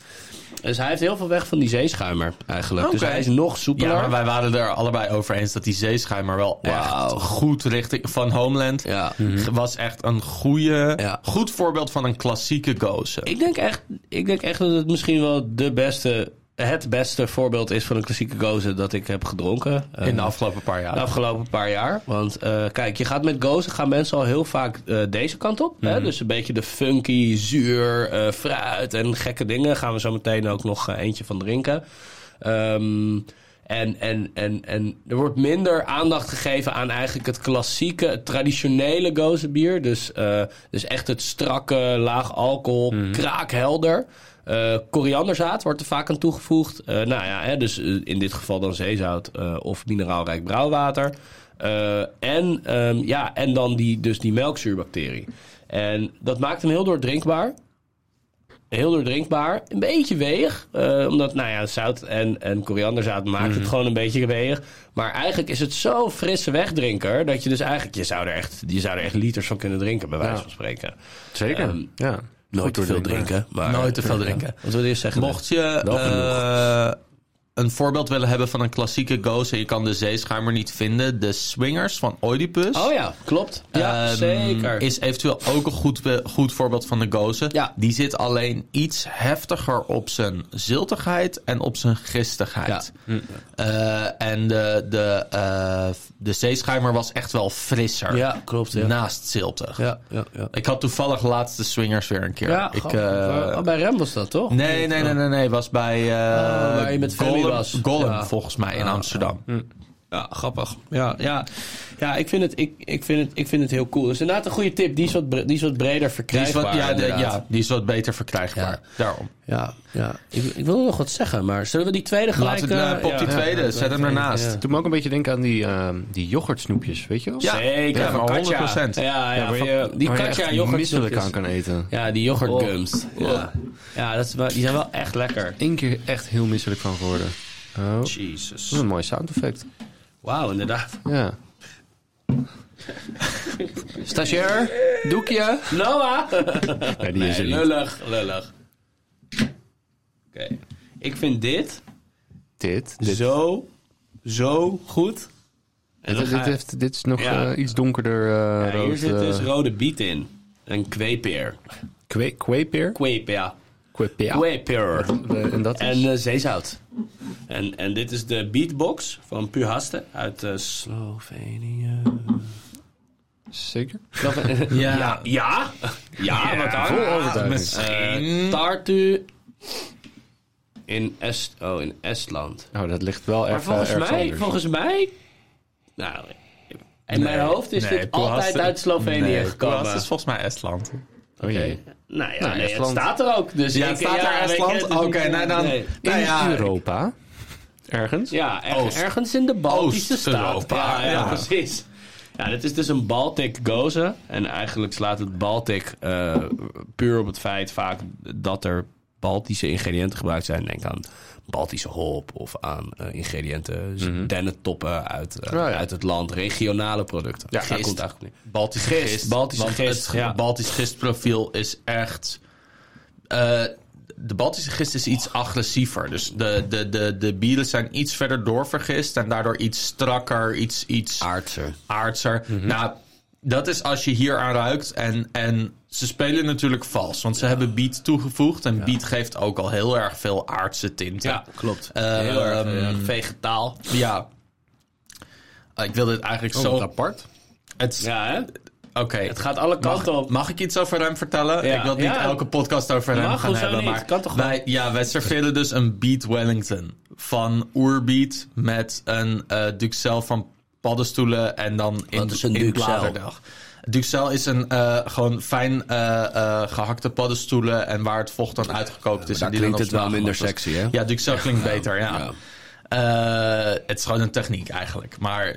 [SPEAKER 2] Dus hij heeft heel veel weg van die zeeschuimer eigenlijk. Dus
[SPEAKER 5] Oké.
[SPEAKER 2] hij is nog soepeler.
[SPEAKER 5] Ja, maar wij waren er allebei over eens dat die zeeschuimer wel echt goed richting van Homeland
[SPEAKER 2] Ja. Mhm.
[SPEAKER 5] was echt een goede,
[SPEAKER 2] Ja.
[SPEAKER 5] goed voorbeeld van een klassieke gozer.
[SPEAKER 2] Ik denk, echt, ik denk echt dat het misschien wel de beste, het beste voorbeeld is van een klassieke gozer dat ik heb gedronken. Eh,
[SPEAKER 5] in de afgelopen paar jaar.
[SPEAKER 2] de afgelopen paar jaar. Want eh, kijk, je gaat met gozer, gaan mensen al heel vaak eh, deze kant op. Hè? Dus een beetje de funky, zuur, eh, fruit en gekke dingen. Gaan we zo meteen ook nog eh, eentje van drinken. Ehm, en, en, en, en er wordt minder aandacht gegeven aan eigenlijk het klassieke, het traditionele gozenbier. Dus, eh, dus echt het strakke, laag alcohol, kraakhelder. Eh, korianderzaad wordt er vaak aan toegevoegd. Eh, nou ja, hè, dus eh, in dit geval dan zeezout eh, of mineraalrijk brouwwater. Eh, en, ehm, ja, en dan die, dus die melkzuurbacterie. En dat maakt hem heel doordrinkbaar. Heel doordrinkbaar. Een beetje weeg. eh, omdat, nou ja, zout en, en korianderzaat maakt het gewoon een beetje weeg. Maar eigenlijk is het zo'n frisse wegdrinker... dat je dus eigenlijk... je zou er echt, je zou er echt liters van kunnen drinken, bij wijze van spreken.
[SPEAKER 4] Zeker.
[SPEAKER 2] Ehm,
[SPEAKER 4] ja.
[SPEAKER 2] Nooit te veel drinken. Maar,
[SPEAKER 5] Nooit te veel drinken.
[SPEAKER 2] Wat wil je zeggen?
[SPEAKER 5] Mocht je
[SPEAKER 4] Wel genoeg.
[SPEAKER 5] eh, een voorbeeld willen hebben van een klassieke gozer en je kan de zeeschuimer niet vinden, de Swingers van Oedipus.
[SPEAKER 2] Oh ja, klopt. Ja,
[SPEAKER 5] Ehm,
[SPEAKER 2] zeker.
[SPEAKER 5] Is eventueel ook een goed, be- goed voorbeeld van de gozer.
[SPEAKER 2] Ja.
[SPEAKER 5] Die zit alleen iets heftiger op zijn ziltigheid en op zijn gistigheid. Eh, en de, de, eh, de zeeschuimer was echt wel frisser.
[SPEAKER 2] Ja, klopt. Ja.
[SPEAKER 5] Naast ziltig.
[SPEAKER 2] ja, ja, ja.
[SPEAKER 5] Ik had toevallig laatst de swingers weer een keer.
[SPEAKER 2] Ja,
[SPEAKER 5] ik,
[SPEAKER 2] ik,
[SPEAKER 5] eh,
[SPEAKER 2] bij Rem was dat toch?
[SPEAKER 5] nee, nee, nee, nee, nee. Was bij eh
[SPEAKER 2] Oh, waar je met Femi
[SPEAKER 5] Gollum,
[SPEAKER 2] was.
[SPEAKER 5] Gollum,
[SPEAKER 2] Ja. Mm.
[SPEAKER 5] volgens mij in Amsterdam.
[SPEAKER 2] Ja, grappig. Ja, ja. ja ik, vind het, ik, ik, vind het, ik vind het heel cool. Dus inderdaad een goede tip. Die is wat, bre- die is wat breder
[SPEAKER 5] Die is,
[SPEAKER 2] verkrijgbaar.
[SPEAKER 5] wat, ja, de-
[SPEAKER 2] inderdaad.
[SPEAKER 5] ja, die is wat beter verkrijgbaar. Daarom.
[SPEAKER 2] ja, ja. Ik, ik wil nog wat zeggen, maar zullen we die tweede gelijk...
[SPEAKER 5] Laten we eh,
[SPEAKER 2] eh,
[SPEAKER 5] pop die
[SPEAKER 2] ja.
[SPEAKER 5] tweede. Zet hem ernaast.
[SPEAKER 2] ja.
[SPEAKER 3] Doe me ook een beetje denken aan die, ehm die yoghurtsnoepjes, weet je wel?
[SPEAKER 5] Ja,
[SPEAKER 2] Zeker,
[SPEAKER 5] ja, maar
[SPEAKER 2] van
[SPEAKER 5] 100%.
[SPEAKER 2] Katja. Ja, ja,
[SPEAKER 3] waar
[SPEAKER 2] van,
[SPEAKER 3] je-
[SPEAKER 2] eh, die
[SPEAKER 3] waar je
[SPEAKER 2] katja
[SPEAKER 3] echt misselijk Oh. aan
[SPEAKER 2] yoghurtgums.
[SPEAKER 3] kan eten.
[SPEAKER 2] Ja, die yoghurtgums. Ja, ja dat is, wel- die zijn wel echt lekker.
[SPEAKER 3] Eén keer echt heel misselijk van geworden. Oh, dat is
[SPEAKER 5] Jezus.
[SPEAKER 3] een mooi sound effect.
[SPEAKER 2] Wauw, inderdaad.
[SPEAKER 3] Ja. Stagiair, doekje.
[SPEAKER 2] Noah!
[SPEAKER 3] Ja, die
[SPEAKER 2] Nee,
[SPEAKER 3] is er niet.
[SPEAKER 2] lullig, lullig. Oké. Ik vind dit,
[SPEAKER 3] Dit. Dit,
[SPEAKER 2] zo, zo goed. En dan
[SPEAKER 3] dit,
[SPEAKER 2] ga
[SPEAKER 3] dit, heeft, dit is nog
[SPEAKER 2] Ja.
[SPEAKER 3] eh, iets donkerder eh,
[SPEAKER 2] Ja,
[SPEAKER 3] rood.
[SPEAKER 2] hier zit
[SPEAKER 3] eh,
[SPEAKER 2] dus rode biet in. En kweepeer.
[SPEAKER 3] kwe- kweepeer?
[SPEAKER 2] Kweepeer.
[SPEAKER 3] Kweepeer.
[SPEAKER 2] Kweepeer.
[SPEAKER 3] Eh, En dat is...
[SPEAKER 2] En eh, zeezout. En, en dit is de beatbox van Puhaste uit eh, Slovenië.
[SPEAKER 3] Zeker?
[SPEAKER 5] Ja.
[SPEAKER 2] Ja, ja, ja, wat dan?
[SPEAKER 3] Vol overtuiging.
[SPEAKER 2] Eh, Tartu in, Est oh, in Estland.
[SPEAKER 3] Oh, dat ligt wel
[SPEAKER 2] Maar
[SPEAKER 3] erg eh,
[SPEAKER 2] volgens
[SPEAKER 3] ergens
[SPEAKER 2] mij,
[SPEAKER 3] anders.
[SPEAKER 2] volgens mij. Nou, in mijn hoofd is
[SPEAKER 5] nee,
[SPEAKER 2] dit
[SPEAKER 5] Puhaste-
[SPEAKER 2] altijd uit Slovenië
[SPEAKER 5] Nee,
[SPEAKER 2] gekomen.
[SPEAKER 5] Kroatië is volgens mij Estland.
[SPEAKER 3] Oh jee.
[SPEAKER 2] Nou ja, nee, het
[SPEAKER 3] Estland.
[SPEAKER 2] staat er ook. Dus
[SPEAKER 5] Ja,
[SPEAKER 2] ik-
[SPEAKER 5] het staat daar
[SPEAKER 2] weet je, het
[SPEAKER 5] Estland.
[SPEAKER 2] is
[SPEAKER 5] Oké,
[SPEAKER 2] niet-
[SPEAKER 5] nou dan.
[SPEAKER 2] nee.
[SPEAKER 5] Nou
[SPEAKER 3] In
[SPEAKER 5] ja,
[SPEAKER 3] Europa. Ergens.
[SPEAKER 2] Ja, er-
[SPEAKER 5] Oost.
[SPEAKER 2] ergens in de Baltische staat.
[SPEAKER 5] Oost-Europa,
[SPEAKER 2] Ja, ja,
[SPEAKER 5] ja.
[SPEAKER 2] precies. Ja, dit is dus een Baltic gozer. En eigenlijk slaat het Baltic eh, puur op het feit vaak dat er Baltische ingrediënten gebruikt zijn. Denk aan Baltische hop of aan eh, ingrediënten, dus
[SPEAKER 5] Mhm.
[SPEAKER 2] dennentoppen uit, eh,
[SPEAKER 3] Oh ja.
[SPEAKER 2] uit het land, regionale producten.
[SPEAKER 5] Ja,
[SPEAKER 2] Daar
[SPEAKER 5] gist.
[SPEAKER 2] komt het eigenlijk niet.
[SPEAKER 5] Baltische
[SPEAKER 2] Gist,
[SPEAKER 5] gist.
[SPEAKER 2] Baltische
[SPEAKER 5] want
[SPEAKER 2] gist,
[SPEAKER 5] Het
[SPEAKER 2] ja.
[SPEAKER 5] Baltisch gistprofiel is echt. eh, de Baltische gist is iets agressiever. Dus de, de, de, de bieren zijn iets verder doorvergist. En daardoor iets strakker, iets, iets
[SPEAKER 2] Aardse.
[SPEAKER 5] aardser.
[SPEAKER 2] Mhm.
[SPEAKER 5] Nou, dat is als je hier aan ruikt. En, en ze spelen natuurlijk vals. Want ze hebben biet toegevoegd. En biet geeft ook al heel erg veel aardse tinten.
[SPEAKER 2] Ja, klopt.
[SPEAKER 5] Eh,
[SPEAKER 2] Heel erg
[SPEAKER 5] ehm,
[SPEAKER 2] eh, vegetaal.
[SPEAKER 5] Ja. Ah, Ik wil dit eigenlijk zo...
[SPEAKER 3] apart.
[SPEAKER 5] Het, is-
[SPEAKER 2] Oh, Ja, hè?
[SPEAKER 5] Oké.
[SPEAKER 2] Het gaat alle
[SPEAKER 5] Mag,
[SPEAKER 2] kanten op.
[SPEAKER 5] mag ik iets over hem vertellen?
[SPEAKER 2] Ja.
[SPEAKER 5] Ik wil niet
[SPEAKER 2] Ja.
[SPEAKER 5] elke podcast over hem
[SPEAKER 2] Mag,
[SPEAKER 5] gaan
[SPEAKER 2] hoezo
[SPEAKER 5] hebben.
[SPEAKER 2] niet?
[SPEAKER 5] Maar
[SPEAKER 2] Kan toch
[SPEAKER 5] wij, ja, wij serveren dus een Beat Wellington van Oerbeat met een eh Duxel van paddenstoelen en dan in,
[SPEAKER 2] Wat is een
[SPEAKER 5] in
[SPEAKER 2] Duxel?
[SPEAKER 5] bladerdeeg. Duxel is een eh, gewoon fijn eh, eh, gehakte paddenstoelen en waar het vocht dan uitgekookt is.
[SPEAKER 2] daar
[SPEAKER 5] en die dan
[SPEAKER 2] klinkt
[SPEAKER 5] op
[SPEAKER 2] het wel
[SPEAKER 5] smaak
[SPEAKER 2] minder
[SPEAKER 5] gemaakt is.
[SPEAKER 2] sexy, hè?
[SPEAKER 5] Ja, Duxel klinkt beter, ja.
[SPEAKER 2] ja.
[SPEAKER 5] Eh, het is gewoon een techniek eigenlijk. Maar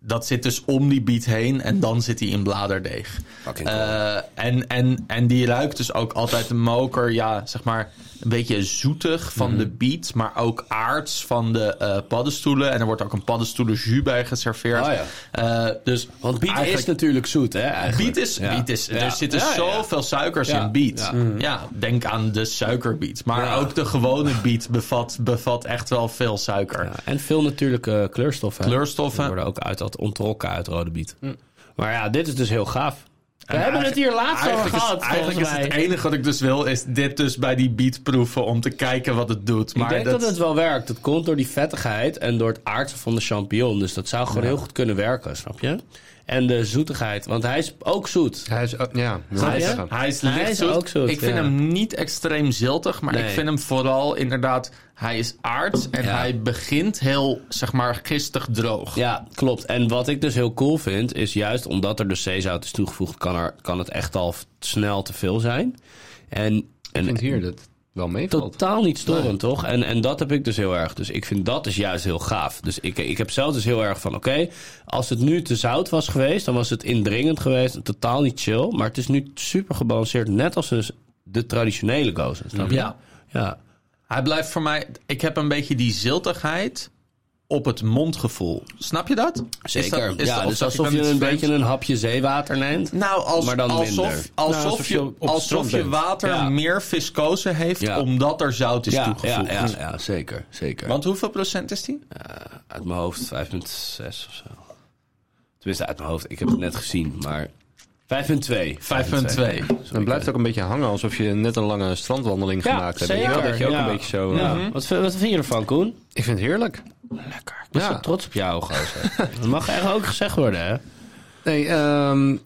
[SPEAKER 5] dat zit dus om die biet heen en dan zit hij in bladerdeeg.
[SPEAKER 2] Fucking
[SPEAKER 5] Eh, en, en, en die ruikt dus ook altijd de moker, ja, zeg maar. een beetje zoetig van
[SPEAKER 2] Mhm.
[SPEAKER 5] de biet, maar ook aards van de eh, paddenstoelen. En er wordt ook een paddenstoelenjus bij geserveerd.
[SPEAKER 2] Oh ja.
[SPEAKER 5] Eh, dus
[SPEAKER 2] Want biet
[SPEAKER 5] eigenlijk-
[SPEAKER 2] is natuurlijk zoet, hè? eigenlijk.
[SPEAKER 5] Biet is,
[SPEAKER 2] Ja.
[SPEAKER 5] biet is,
[SPEAKER 2] Ja.
[SPEAKER 5] er zitten
[SPEAKER 2] Ja, ja, ja.
[SPEAKER 5] zoveel suikers
[SPEAKER 2] Ja.
[SPEAKER 5] in biet.
[SPEAKER 2] Ja.
[SPEAKER 5] Ja. denk aan de suikerbiet. Maar
[SPEAKER 2] Ja.
[SPEAKER 5] ook de gewone biet bevat, bevat echt wel veel suiker.
[SPEAKER 2] Ja, en veel natuurlijke kleurstoffen.
[SPEAKER 5] Kleurstoffen. Hm.
[SPEAKER 2] Die worden ook uit dat ontrokken uit rode biet. Maar ja, dit is dus heel gaaf. We hebben het hier laatst over
[SPEAKER 5] Eigenlijk, is,
[SPEAKER 2] gehad,
[SPEAKER 5] eigenlijk
[SPEAKER 2] volgens
[SPEAKER 5] is
[SPEAKER 2] mij.
[SPEAKER 5] het enige wat ik dus wil, is dit dus bij die biet proeven om te kijken wat het doet. Maar
[SPEAKER 2] ik denk dat... het wel werkt. Het komt door die vettigheid en door het aardse van de champignon. Dus dat zou gewoon heel goed kunnen werken, snap je? En de zoetigheid, want hij is ook zoet.
[SPEAKER 3] Hij is, oh, ja, wil
[SPEAKER 2] Snap
[SPEAKER 3] ik
[SPEAKER 2] je?
[SPEAKER 3] zeggen.
[SPEAKER 5] Hij is
[SPEAKER 2] Hij is
[SPEAKER 5] licht
[SPEAKER 2] ook zoet,
[SPEAKER 5] Ik vind
[SPEAKER 2] ja.
[SPEAKER 5] hem niet extreem ziltig, maar
[SPEAKER 2] Nee.
[SPEAKER 5] ik vind hem vooral inderdaad... Hij is aards en
[SPEAKER 2] Ja.
[SPEAKER 5] hij begint heel, zeg maar, gistig droog.
[SPEAKER 2] Ja, klopt. En wat ik dus heel cool vind, is juist omdat er dus zeezout is toegevoegd, kan, er, kan het echt al snel te veel zijn. En,
[SPEAKER 3] Ik
[SPEAKER 2] en
[SPEAKER 3] vind hier dat het wel meevalt.
[SPEAKER 2] totaal niet storend, toch? En, en dat heb ik dus heel erg. Dus ik vind dat is juist heel gaaf. Dus ik, ik heb zelf dus heel erg van, oké, als het nu te zout was geweest, dan was het indringend geweest, en totaal niet chill. Maar het is nu super gebalanceerd, net als dus de traditionele gozen, snap je?
[SPEAKER 5] Ja.
[SPEAKER 2] Ja.
[SPEAKER 5] Hij blijft voor mij... Ik heb een beetje die ziltigheid op het mondgevoel. Snap je dat? Is
[SPEAKER 2] Zeker.
[SPEAKER 5] dat- is
[SPEAKER 2] ja,
[SPEAKER 5] dat- of
[SPEAKER 2] dus
[SPEAKER 5] zeg ik
[SPEAKER 2] alsof
[SPEAKER 5] dan
[SPEAKER 2] je
[SPEAKER 5] iets
[SPEAKER 2] een
[SPEAKER 5] vreemds?
[SPEAKER 2] beetje een hapje zeewater neemt.
[SPEAKER 5] Nou, als,
[SPEAKER 2] Maar dan minder.
[SPEAKER 5] alsof, alsof,
[SPEAKER 4] Nou, alsof je
[SPEAKER 5] je,
[SPEAKER 4] op het
[SPEAKER 5] alsof
[SPEAKER 4] strand
[SPEAKER 5] je
[SPEAKER 4] bent.
[SPEAKER 5] water
[SPEAKER 2] Ja.
[SPEAKER 5] meer viscose heeft
[SPEAKER 2] Ja.
[SPEAKER 5] omdat er zout is
[SPEAKER 2] ja, ja,
[SPEAKER 5] toegevoegd.
[SPEAKER 2] ja, ja, zeker. zeker.
[SPEAKER 5] Want hoeveel procent is die?
[SPEAKER 2] Uit mijn hoofd 5,6 of zo. Tenminste, uit mijn hoofd. Ik heb het net gezien, maar... 5,2.
[SPEAKER 5] 5,2.
[SPEAKER 3] Dan blijft het ook een beetje hangen alsof je net een lange strandwandeling gemaakt hebt. weet je wel? Dat je ook een beetje zo... eh,
[SPEAKER 2] wat, vind- wat vind je ervan, Koen?
[SPEAKER 3] Ik vind het heerlijk.
[SPEAKER 2] Lekker. Ik ben
[SPEAKER 3] Ja.
[SPEAKER 2] zo trots op jou, gozer. dat mag echt ook gezegd worden, hè?
[SPEAKER 3] Nee, ehm,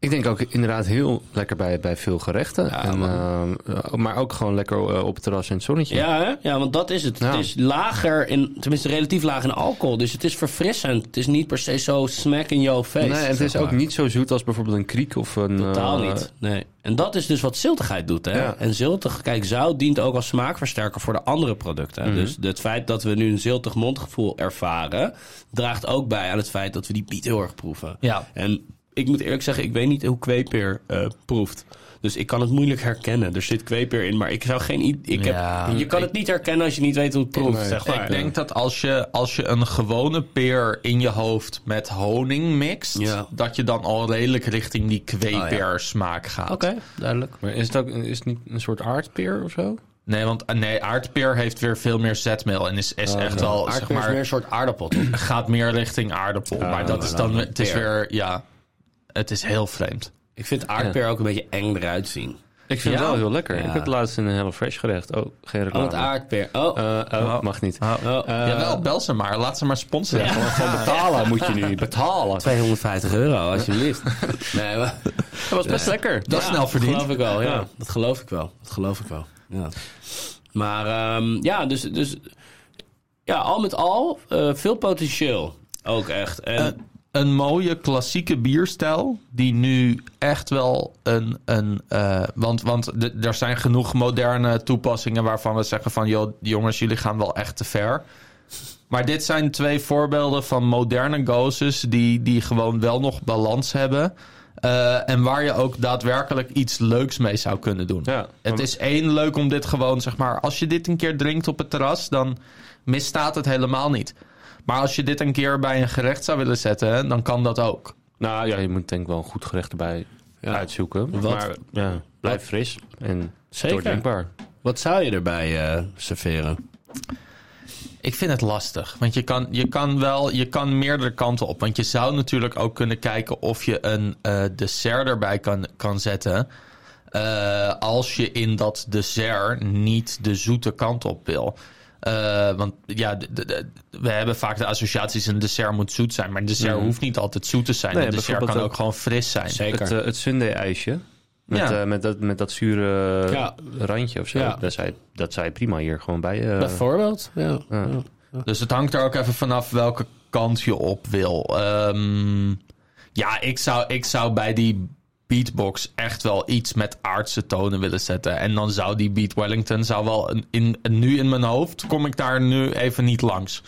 [SPEAKER 3] ik denk ook inderdaad heel lekker bij, bij veel gerechten. en, ehm, maar ook gewoon lekker eh, op het terras in het zonnetje.
[SPEAKER 2] Ja, hè? ja want dat is het.
[SPEAKER 3] Ja.
[SPEAKER 2] Het is lager, in, tenminste relatief laag in alcohol. Dus het is verfrissend. Het is niet per se zo smack in jouw face.
[SPEAKER 3] nee, en het
[SPEAKER 2] zeg
[SPEAKER 3] is
[SPEAKER 2] maar.
[SPEAKER 3] ook niet zo zoet als bijvoorbeeld een kriek of een...
[SPEAKER 2] Totaal
[SPEAKER 3] eh,
[SPEAKER 2] niet. Nee. En dat is dus wat ziltigheid doet. Hè?
[SPEAKER 3] Ja.
[SPEAKER 2] En ziltig, kijk, zout dient ook als smaakversterker voor de andere producten. hè. Dus het feit dat we nu een ziltig mondgevoel ervaren, draagt ook bij aan het feit dat we die biet heel erg proeven.
[SPEAKER 5] Ja.
[SPEAKER 2] En ik moet eerlijk zeggen, ik weet niet hoe kweepeer eh, proeft. Dus ik kan het moeilijk herkennen. Er zit kweepeer in, maar ik zou geen. i- Ik heb,
[SPEAKER 5] Ja,
[SPEAKER 2] je kan het niet herkennen als je niet weet hoe het proeft. zeg maar.
[SPEAKER 5] Ik denk dat als je, als je een gewone peer in je hoofd met honing mixt,
[SPEAKER 2] Ja. Oh,
[SPEAKER 5] dat je dan al redelijk richting die kweepeersmaak smaak gaat.
[SPEAKER 2] Oké, duidelijk.
[SPEAKER 3] Maar is het, ook, is het niet een soort aardpeer of zo?
[SPEAKER 5] Nee, want eh, nee, aardpeer heeft weer veel meer zetmeel en is, is echt wel, zeg
[SPEAKER 2] Oh, Aardpeer is
[SPEAKER 5] maar,
[SPEAKER 2] meer een soort aardappel. toch? Ah,
[SPEAKER 5] gaat meer richting aardappel. maar dat
[SPEAKER 2] maar
[SPEAKER 5] is
[SPEAKER 2] dan
[SPEAKER 5] dan, het is
[SPEAKER 2] peer.
[SPEAKER 5] weer, ja, het is heel vreemd.
[SPEAKER 2] ik vind aardpeer ook een beetje eng eruit zien.
[SPEAKER 3] Ik vind
[SPEAKER 5] Ja.
[SPEAKER 3] het wel heel lekker.
[SPEAKER 2] Ja.
[SPEAKER 3] Ik heb het laatst in een HelloFresh gerecht. Oh, geen
[SPEAKER 2] Oh,
[SPEAKER 3] reclame.
[SPEAKER 4] Ah.
[SPEAKER 2] het aardpeer. Oh,
[SPEAKER 3] Eh, oh, mag niet.
[SPEAKER 2] oh.
[SPEAKER 5] Jawel, bel ze maar. Laat ze maar sponsoren.
[SPEAKER 3] Gewoon- Gewoon betalen moet je nu. Betalen.
[SPEAKER 2] 250 euro, alsjeblieft. nee, maar,
[SPEAKER 3] Dat was best lekker.
[SPEAKER 5] Dat is snel verdiend.
[SPEAKER 2] geloof ik wel, ja. Dat geloof ik wel. Dat geloof ik wel. Ja. Maar ehm, ja, dus, dus ja, al met al eh, veel potentieel. Ook echt. En,
[SPEAKER 3] Eh,
[SPEAKER 5] Een, een mooie klassieke bierstijl. Die nu echt wel een. een eh, want want d- er zijn genoeg moderne toepassingen waarvan we zeggen van joh, jongens, jullie gaan wel echt te ver. Maar dit zijn twee voorbeelden van moderne gozes die, die gewoon wel nog balans hebben. eh, en waar je ook daadwerkelijk iets leuks mee zou kunnen doen.
[SPEAKER 3] Ja.
[SPEAKER 5] het is één leuk om dit gewoon, zeg maar, als je dit een keer drinkt op het terras, dan misstaat het helemaal niet. Maar als je dit een keer bij een gerecht zou willen zetten, hè, dan kan dat ook.
[SPEAKER 3] Nou ja, je moet denk ik wel een goed gerecht erbij uitzoeken.
[SPEAKER 2] Wat-
[SPEAKER 3] Maar ja, blijf fris en
[SPEAKER 2] Zeker.
[SPEAKER 3] doordenkbaar.
[SPEAKER 2] wat zou je erbij eh, serveren?
[SPEAKER 5] Ik vind het lastig. Want je kan, je kan wel, je kan meerdere kanten op. Want je zou natuurlijk ook kunnen kijken of je een eh, dessert erbij kan, kan zetten. eh, als je in dat dessert niet de zoete kant op wil. Eh, want ja, d- d- d- we hebben vaak de associaties: een dessert moet zoet zijn. Maar een dessert hoeft niet altijd zoet te zijn.
[SPEAKER 3] Mhm. Nee,
[SPEAKER 5] een dessert
[SPEAKER 3] bijvoorbeeld
[SPEAKER 5] kan ook
[SPEAKER 3] ook-
[SPEAKER 5] gewoon fris zijn.
[SPEAKER 2] Zeker.
[SPEAKER 3] Het, eh, het Sunday-ijsje. Met,
[SPEAKER 5] Ja.
[SPEAKER 3] eh, met, dat, met dat zure eh,
[SPEAKER 2] Ja.
[SPEAKER 3] randje of zo.
[SPEAKER 2] Ja.
[SPEAKER 3] Dat, zei, dat zei prima hier gewoon bij. eh,
[SPEAKER 2] Bijvoorbeeld? Ja. ja.
[SPEAKER 5] Dus het hangt er ook even vanaf welke kant je op wil. Ehm, ja, ik zou, ik zou bij die beatbox echt wel iets met aardse tonen willen zetten. En dan zou die beat Wellington zou wel... een- In, nu in mijn hoofd kom ik daar nu even niet langs.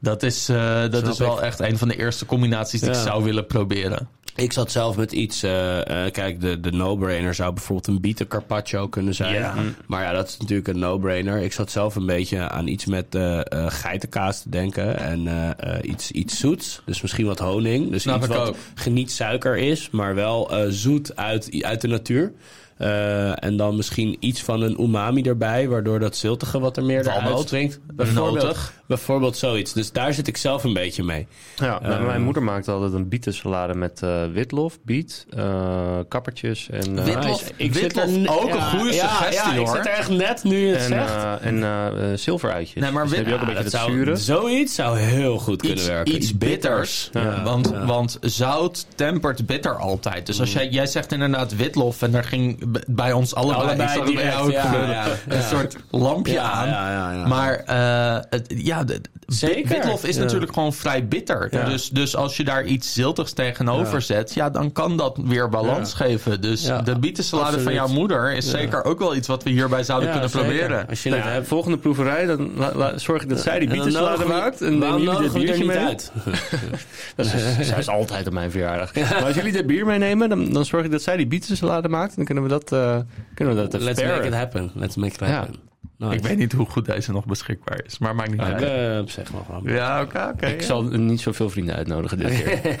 [SPEAKER 5] Dat is, eh, dat is wel echt een van de eerste combinaties die
[SPEAKER 2] Ja.
[SPEAKER 5] ik zou willen proberen.
[SPEAKER 2] Ik zat zelf met iets. eh, eh, kijk, de, de no-brainer zou bijvoorbeeld een bieten carpaccio kunnen zijn.
[SPEAKER 5] Ja.
[SPEAKER 2] Maar ja, dat is natuurlijk een no-brainer. Ik zat zelf een beetje aan iets met eh, eh, geitenkaas te denken. En eh, eh, iets, iets zoets. Dus misschien wat honing. Dus
[SPEAKER 5] Snap
[SPEAKER 2] iets
[SPEAKER 5] ik
[SPEAKER 2] wat
[SPEAKER 5] ook.
[SPEAKER 2] geniet suiker is, maar wel eh, zoet uit, uit de natuur. Eh, en dan misschien iets van een umami erbij, waardoor dat ziltige wat er meer
[SPEAKER 5] Walnoot.
[SPEAKER 2] uit drinkt. Bijvoorbeeld, bijvoorbeeld zoiets. Dus daar zit ik zelf een beetje mee.
[SPEAKER 4] Ja, nou, mijn moeder maakte altijd een bietensalade met eh, witlof, biet, eh, kappertjes en... eh,
[SPEAKER 5] Witlof?
[SPEAKER 2] Nice. Ik zit
[SPEAKER 5] Witlof,
[SPEAKER 2] er-
[SPEAKER 5] ook een goede
[SPEAKER 2] ja,
[SPEAKER 5] suggestie,
[SPEAKER 2] Ik
[SPEAKER 5] hoor.
[SPEAKER 2] zit er echt net nu je het
[SPEAKER 4] en,
[SPEAKER 2] zegt.
[SPEAKER 4] eh, en eh, eh, zilveruitjes.
[SPEAKER 5] Nee, maar
[SPEAKER 4] Dus dan
[SPEAKER 5] wit-
[SPEAKER 4] heb je ook
[SPEAKER 2] Ja,
[SPEAKER 4] een beetje
[SPEAKER 2] nou, dat
[SPEAKER 4] dat
[SPEAKER 2] zou-
[SPEAKER 4] zure.
[SPEAKER 2] Zoiets zou heel goed kunnen
[SPEAKER 5] Iets,
[SPEAKER 2] werken.
[SPEAKER 5] iets bitters. Want, want zout tempert bitter altijd. Dus als jij, jij zegt inderdaad witlof... en daar ging b- bij ons allebei,
[SPEAKER 2] Allebei
[SPEAKER 5] ik zag het bij
[SPEAKER 2] direct,
[SPEAKER 5] jou ook
[SPEAKER 2] ja,
[SPEAKER 5] gebeuren,
[SPEAKER 2] ja, ja.
[SPEAKER 5] een soort lampje
[SPEAKER 2] Ja,
[SPEAKER 5] aan.
[SPEAKER 2] ja, ja, ja.
[SPEAKER 5] Maar eh, het, ja, de- de-
[SPEAKER 2] Zeker.
[SPEAKER 5] witlof is
[SPEAKER 2] Ja.
[SPEAKER 5] natuurlijk gewoon vrij bitter.
[SPEAKER 2] Ja.
[SPEAKER 5] Dus, dus als je daar iets ziltigs tegenover zet... ja, dan kan dat weer balans geven. Dus
[SPEAKER 2] Ja,
[SPEAKER 5] de bietensalade van
[SPEAKER 2] absoluut.
[SPEAKER 5] jouw moeder... is zeker ook wel iets wat we hierbij zouden kunnen proberen.
[SPEAKER 2] Als je
[SPEAKER 4] Nou
[SPEAKER 2] het
[SPEAKER 4] ja,
[SPEAKER 2] hebt.
[SPEAKER 4] volgende proeverij, dan la- la- zorg ik dat zij die
[SPEAKER 2] En dan
[SPEAKER 4] bietensalade
[SPEAKER 2] nodigen we-
[SPEAKER 4] maakt. En neem
[SPEAKER 2] waarom
[SPEAKER 4] jullie dit
[SPEAKER 2] nodigen we er
[SPEAKER 4] biertje
[SPEAKER 2] niet
[SPEAKER 4] mee.
[SPEAKER 2] uit?
[SPEAKER 4] Dat is, zij is altijd op mijn verjaardag. Maar als jullie dit bier meenemen, dan, dan zorg ik dat zij die bietensalade maakt. En dan kunnen we dat, eh kunnen we dat even
[SPEAKER 2] Let's
[SPEAKER 4] paren.
[SPEAKER 2] make it happen. Let's make it
[SPEAKER 4] Ja.
[SPEAKER 2] happen. Nice.
[SPEAKER 5] Ik weet niet hoe goed deze nog beschikbaar is. Maar maakt niet uit.
[SPEAKER 2] Eh, op zich nog wel.
[SPEAKER 5] Ja, oké, oké.
[SPEAKER 4] Ik zal niet zoveel vrienden uitnodigen dit keer.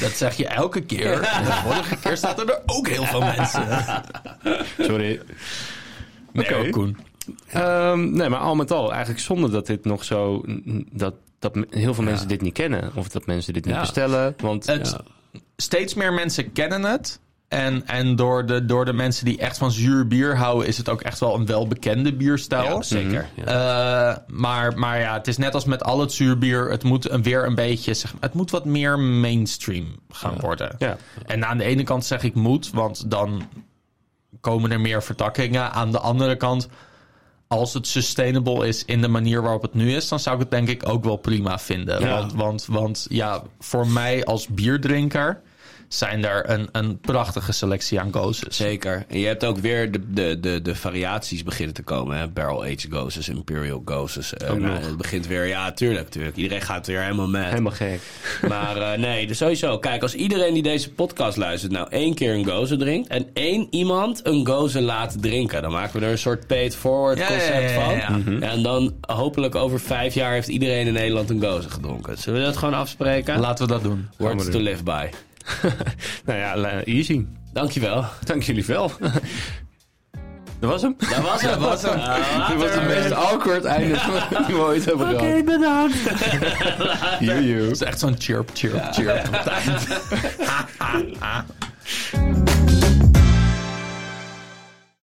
[SPEAKER 5] Dat zeg je elke keer. De vorige keer zaten er ook heel veel mensen.
[SPEAKER 4] Sorry.
[SPEAKER 5] Nee,
[SPEAKER 4] Oké.
[SPEAKER 5] hoor, Koen.
[SPEAKER 4] Ehm, nee, maar al met al, eigenlijk zonder dat dit nog zo... n- Dat, dat m- heel veel mensen dit niet kennen. Of dat mensen dit niet
[SPEAKER 2] Ja.
[SPEAKER 4] bestellen. Want
[SPEAKER 5] Het, Steeds meer mensen kennen het. En, en door, de, door de mensen die echt van zuur bier houden... is het ook echt wel een welbekende bierstijl.
[SPEAKER 2] Ja, zeker. Ja.
[SPEAKER 5] Eh, maar, maar ja, het is net als met al het zuurbier. Het moet een, weer een beetje, zeg, maar, het moet wat meer mainstream gaan worden.
[SPEAKER 4] Ja.
[SPEAKER 5] En aan de ene kant zeg ik moet, want dan komen er meer vertakkingen. Aan de andere kant, als het sustainable is in de manier waarop het nu is, dan zou ik het denk ik ook wel prima vinden. Want, want, want ja, voor mij als bierdrinker zijn er een, een prachtige selectie aan gozes.
[SPEAKER 2] Zeker. En je hebt ook weer de, de, de, de variaties beginnen te komen. Hè? Barrel Age Ghosts, Imperial Ghosts. Eh, nou,
[SPEAKER 4] nog.
[SPEAKER 2] het begint weer, ja, tuurlijk, tuurlijk. Iedereen gaat weer helemaal met.
[SPEAKER 4] helemaal gek.
[SPEAKER 2] Maar eh, nee, dus sowieso. Kijk, als iedereen die deze podcast luistert nou één keer een gozer drinkt... en één iemand een gozer laat drinken... dan maken we er een soort pay-it-forward
[SPEAKER 5] Ja, ja,
[SPEAKER 2] concept
[SPEAKER 5] ja, ja,
[SPEAKER 2] van.
[SPEAKER 5] ja. Mhm.
[SPEAKER 2] En dan hopelijk over vijf jaar heeft iedereen in Nederland een gozer gedronken. Zullen we dat gewoon afspreken?
[SPEAKER 5] Laten we dat doen.
[SPEAKER 2] Words to live by.
[SPEAKER 4] nou ja, la- easy.
[SPEAKER 2] Dankjewel.
[SPEAKER 4] Dank jullie wel. dat was hem.
[SPEAKER 2] Dat was het.
[SPEAKER 5] was hem.
[SPEAKER 2] Ah,
[SPEAKER 4] Dit was het
[SPEAKER 2] later.
[SPEAKER 4] meest awkward einde die we ooit hebben gehad. Oké, bedankt. Joe, joe.
[SPEAKER 5] Het is echt zo'n chirp, chirp, chirp.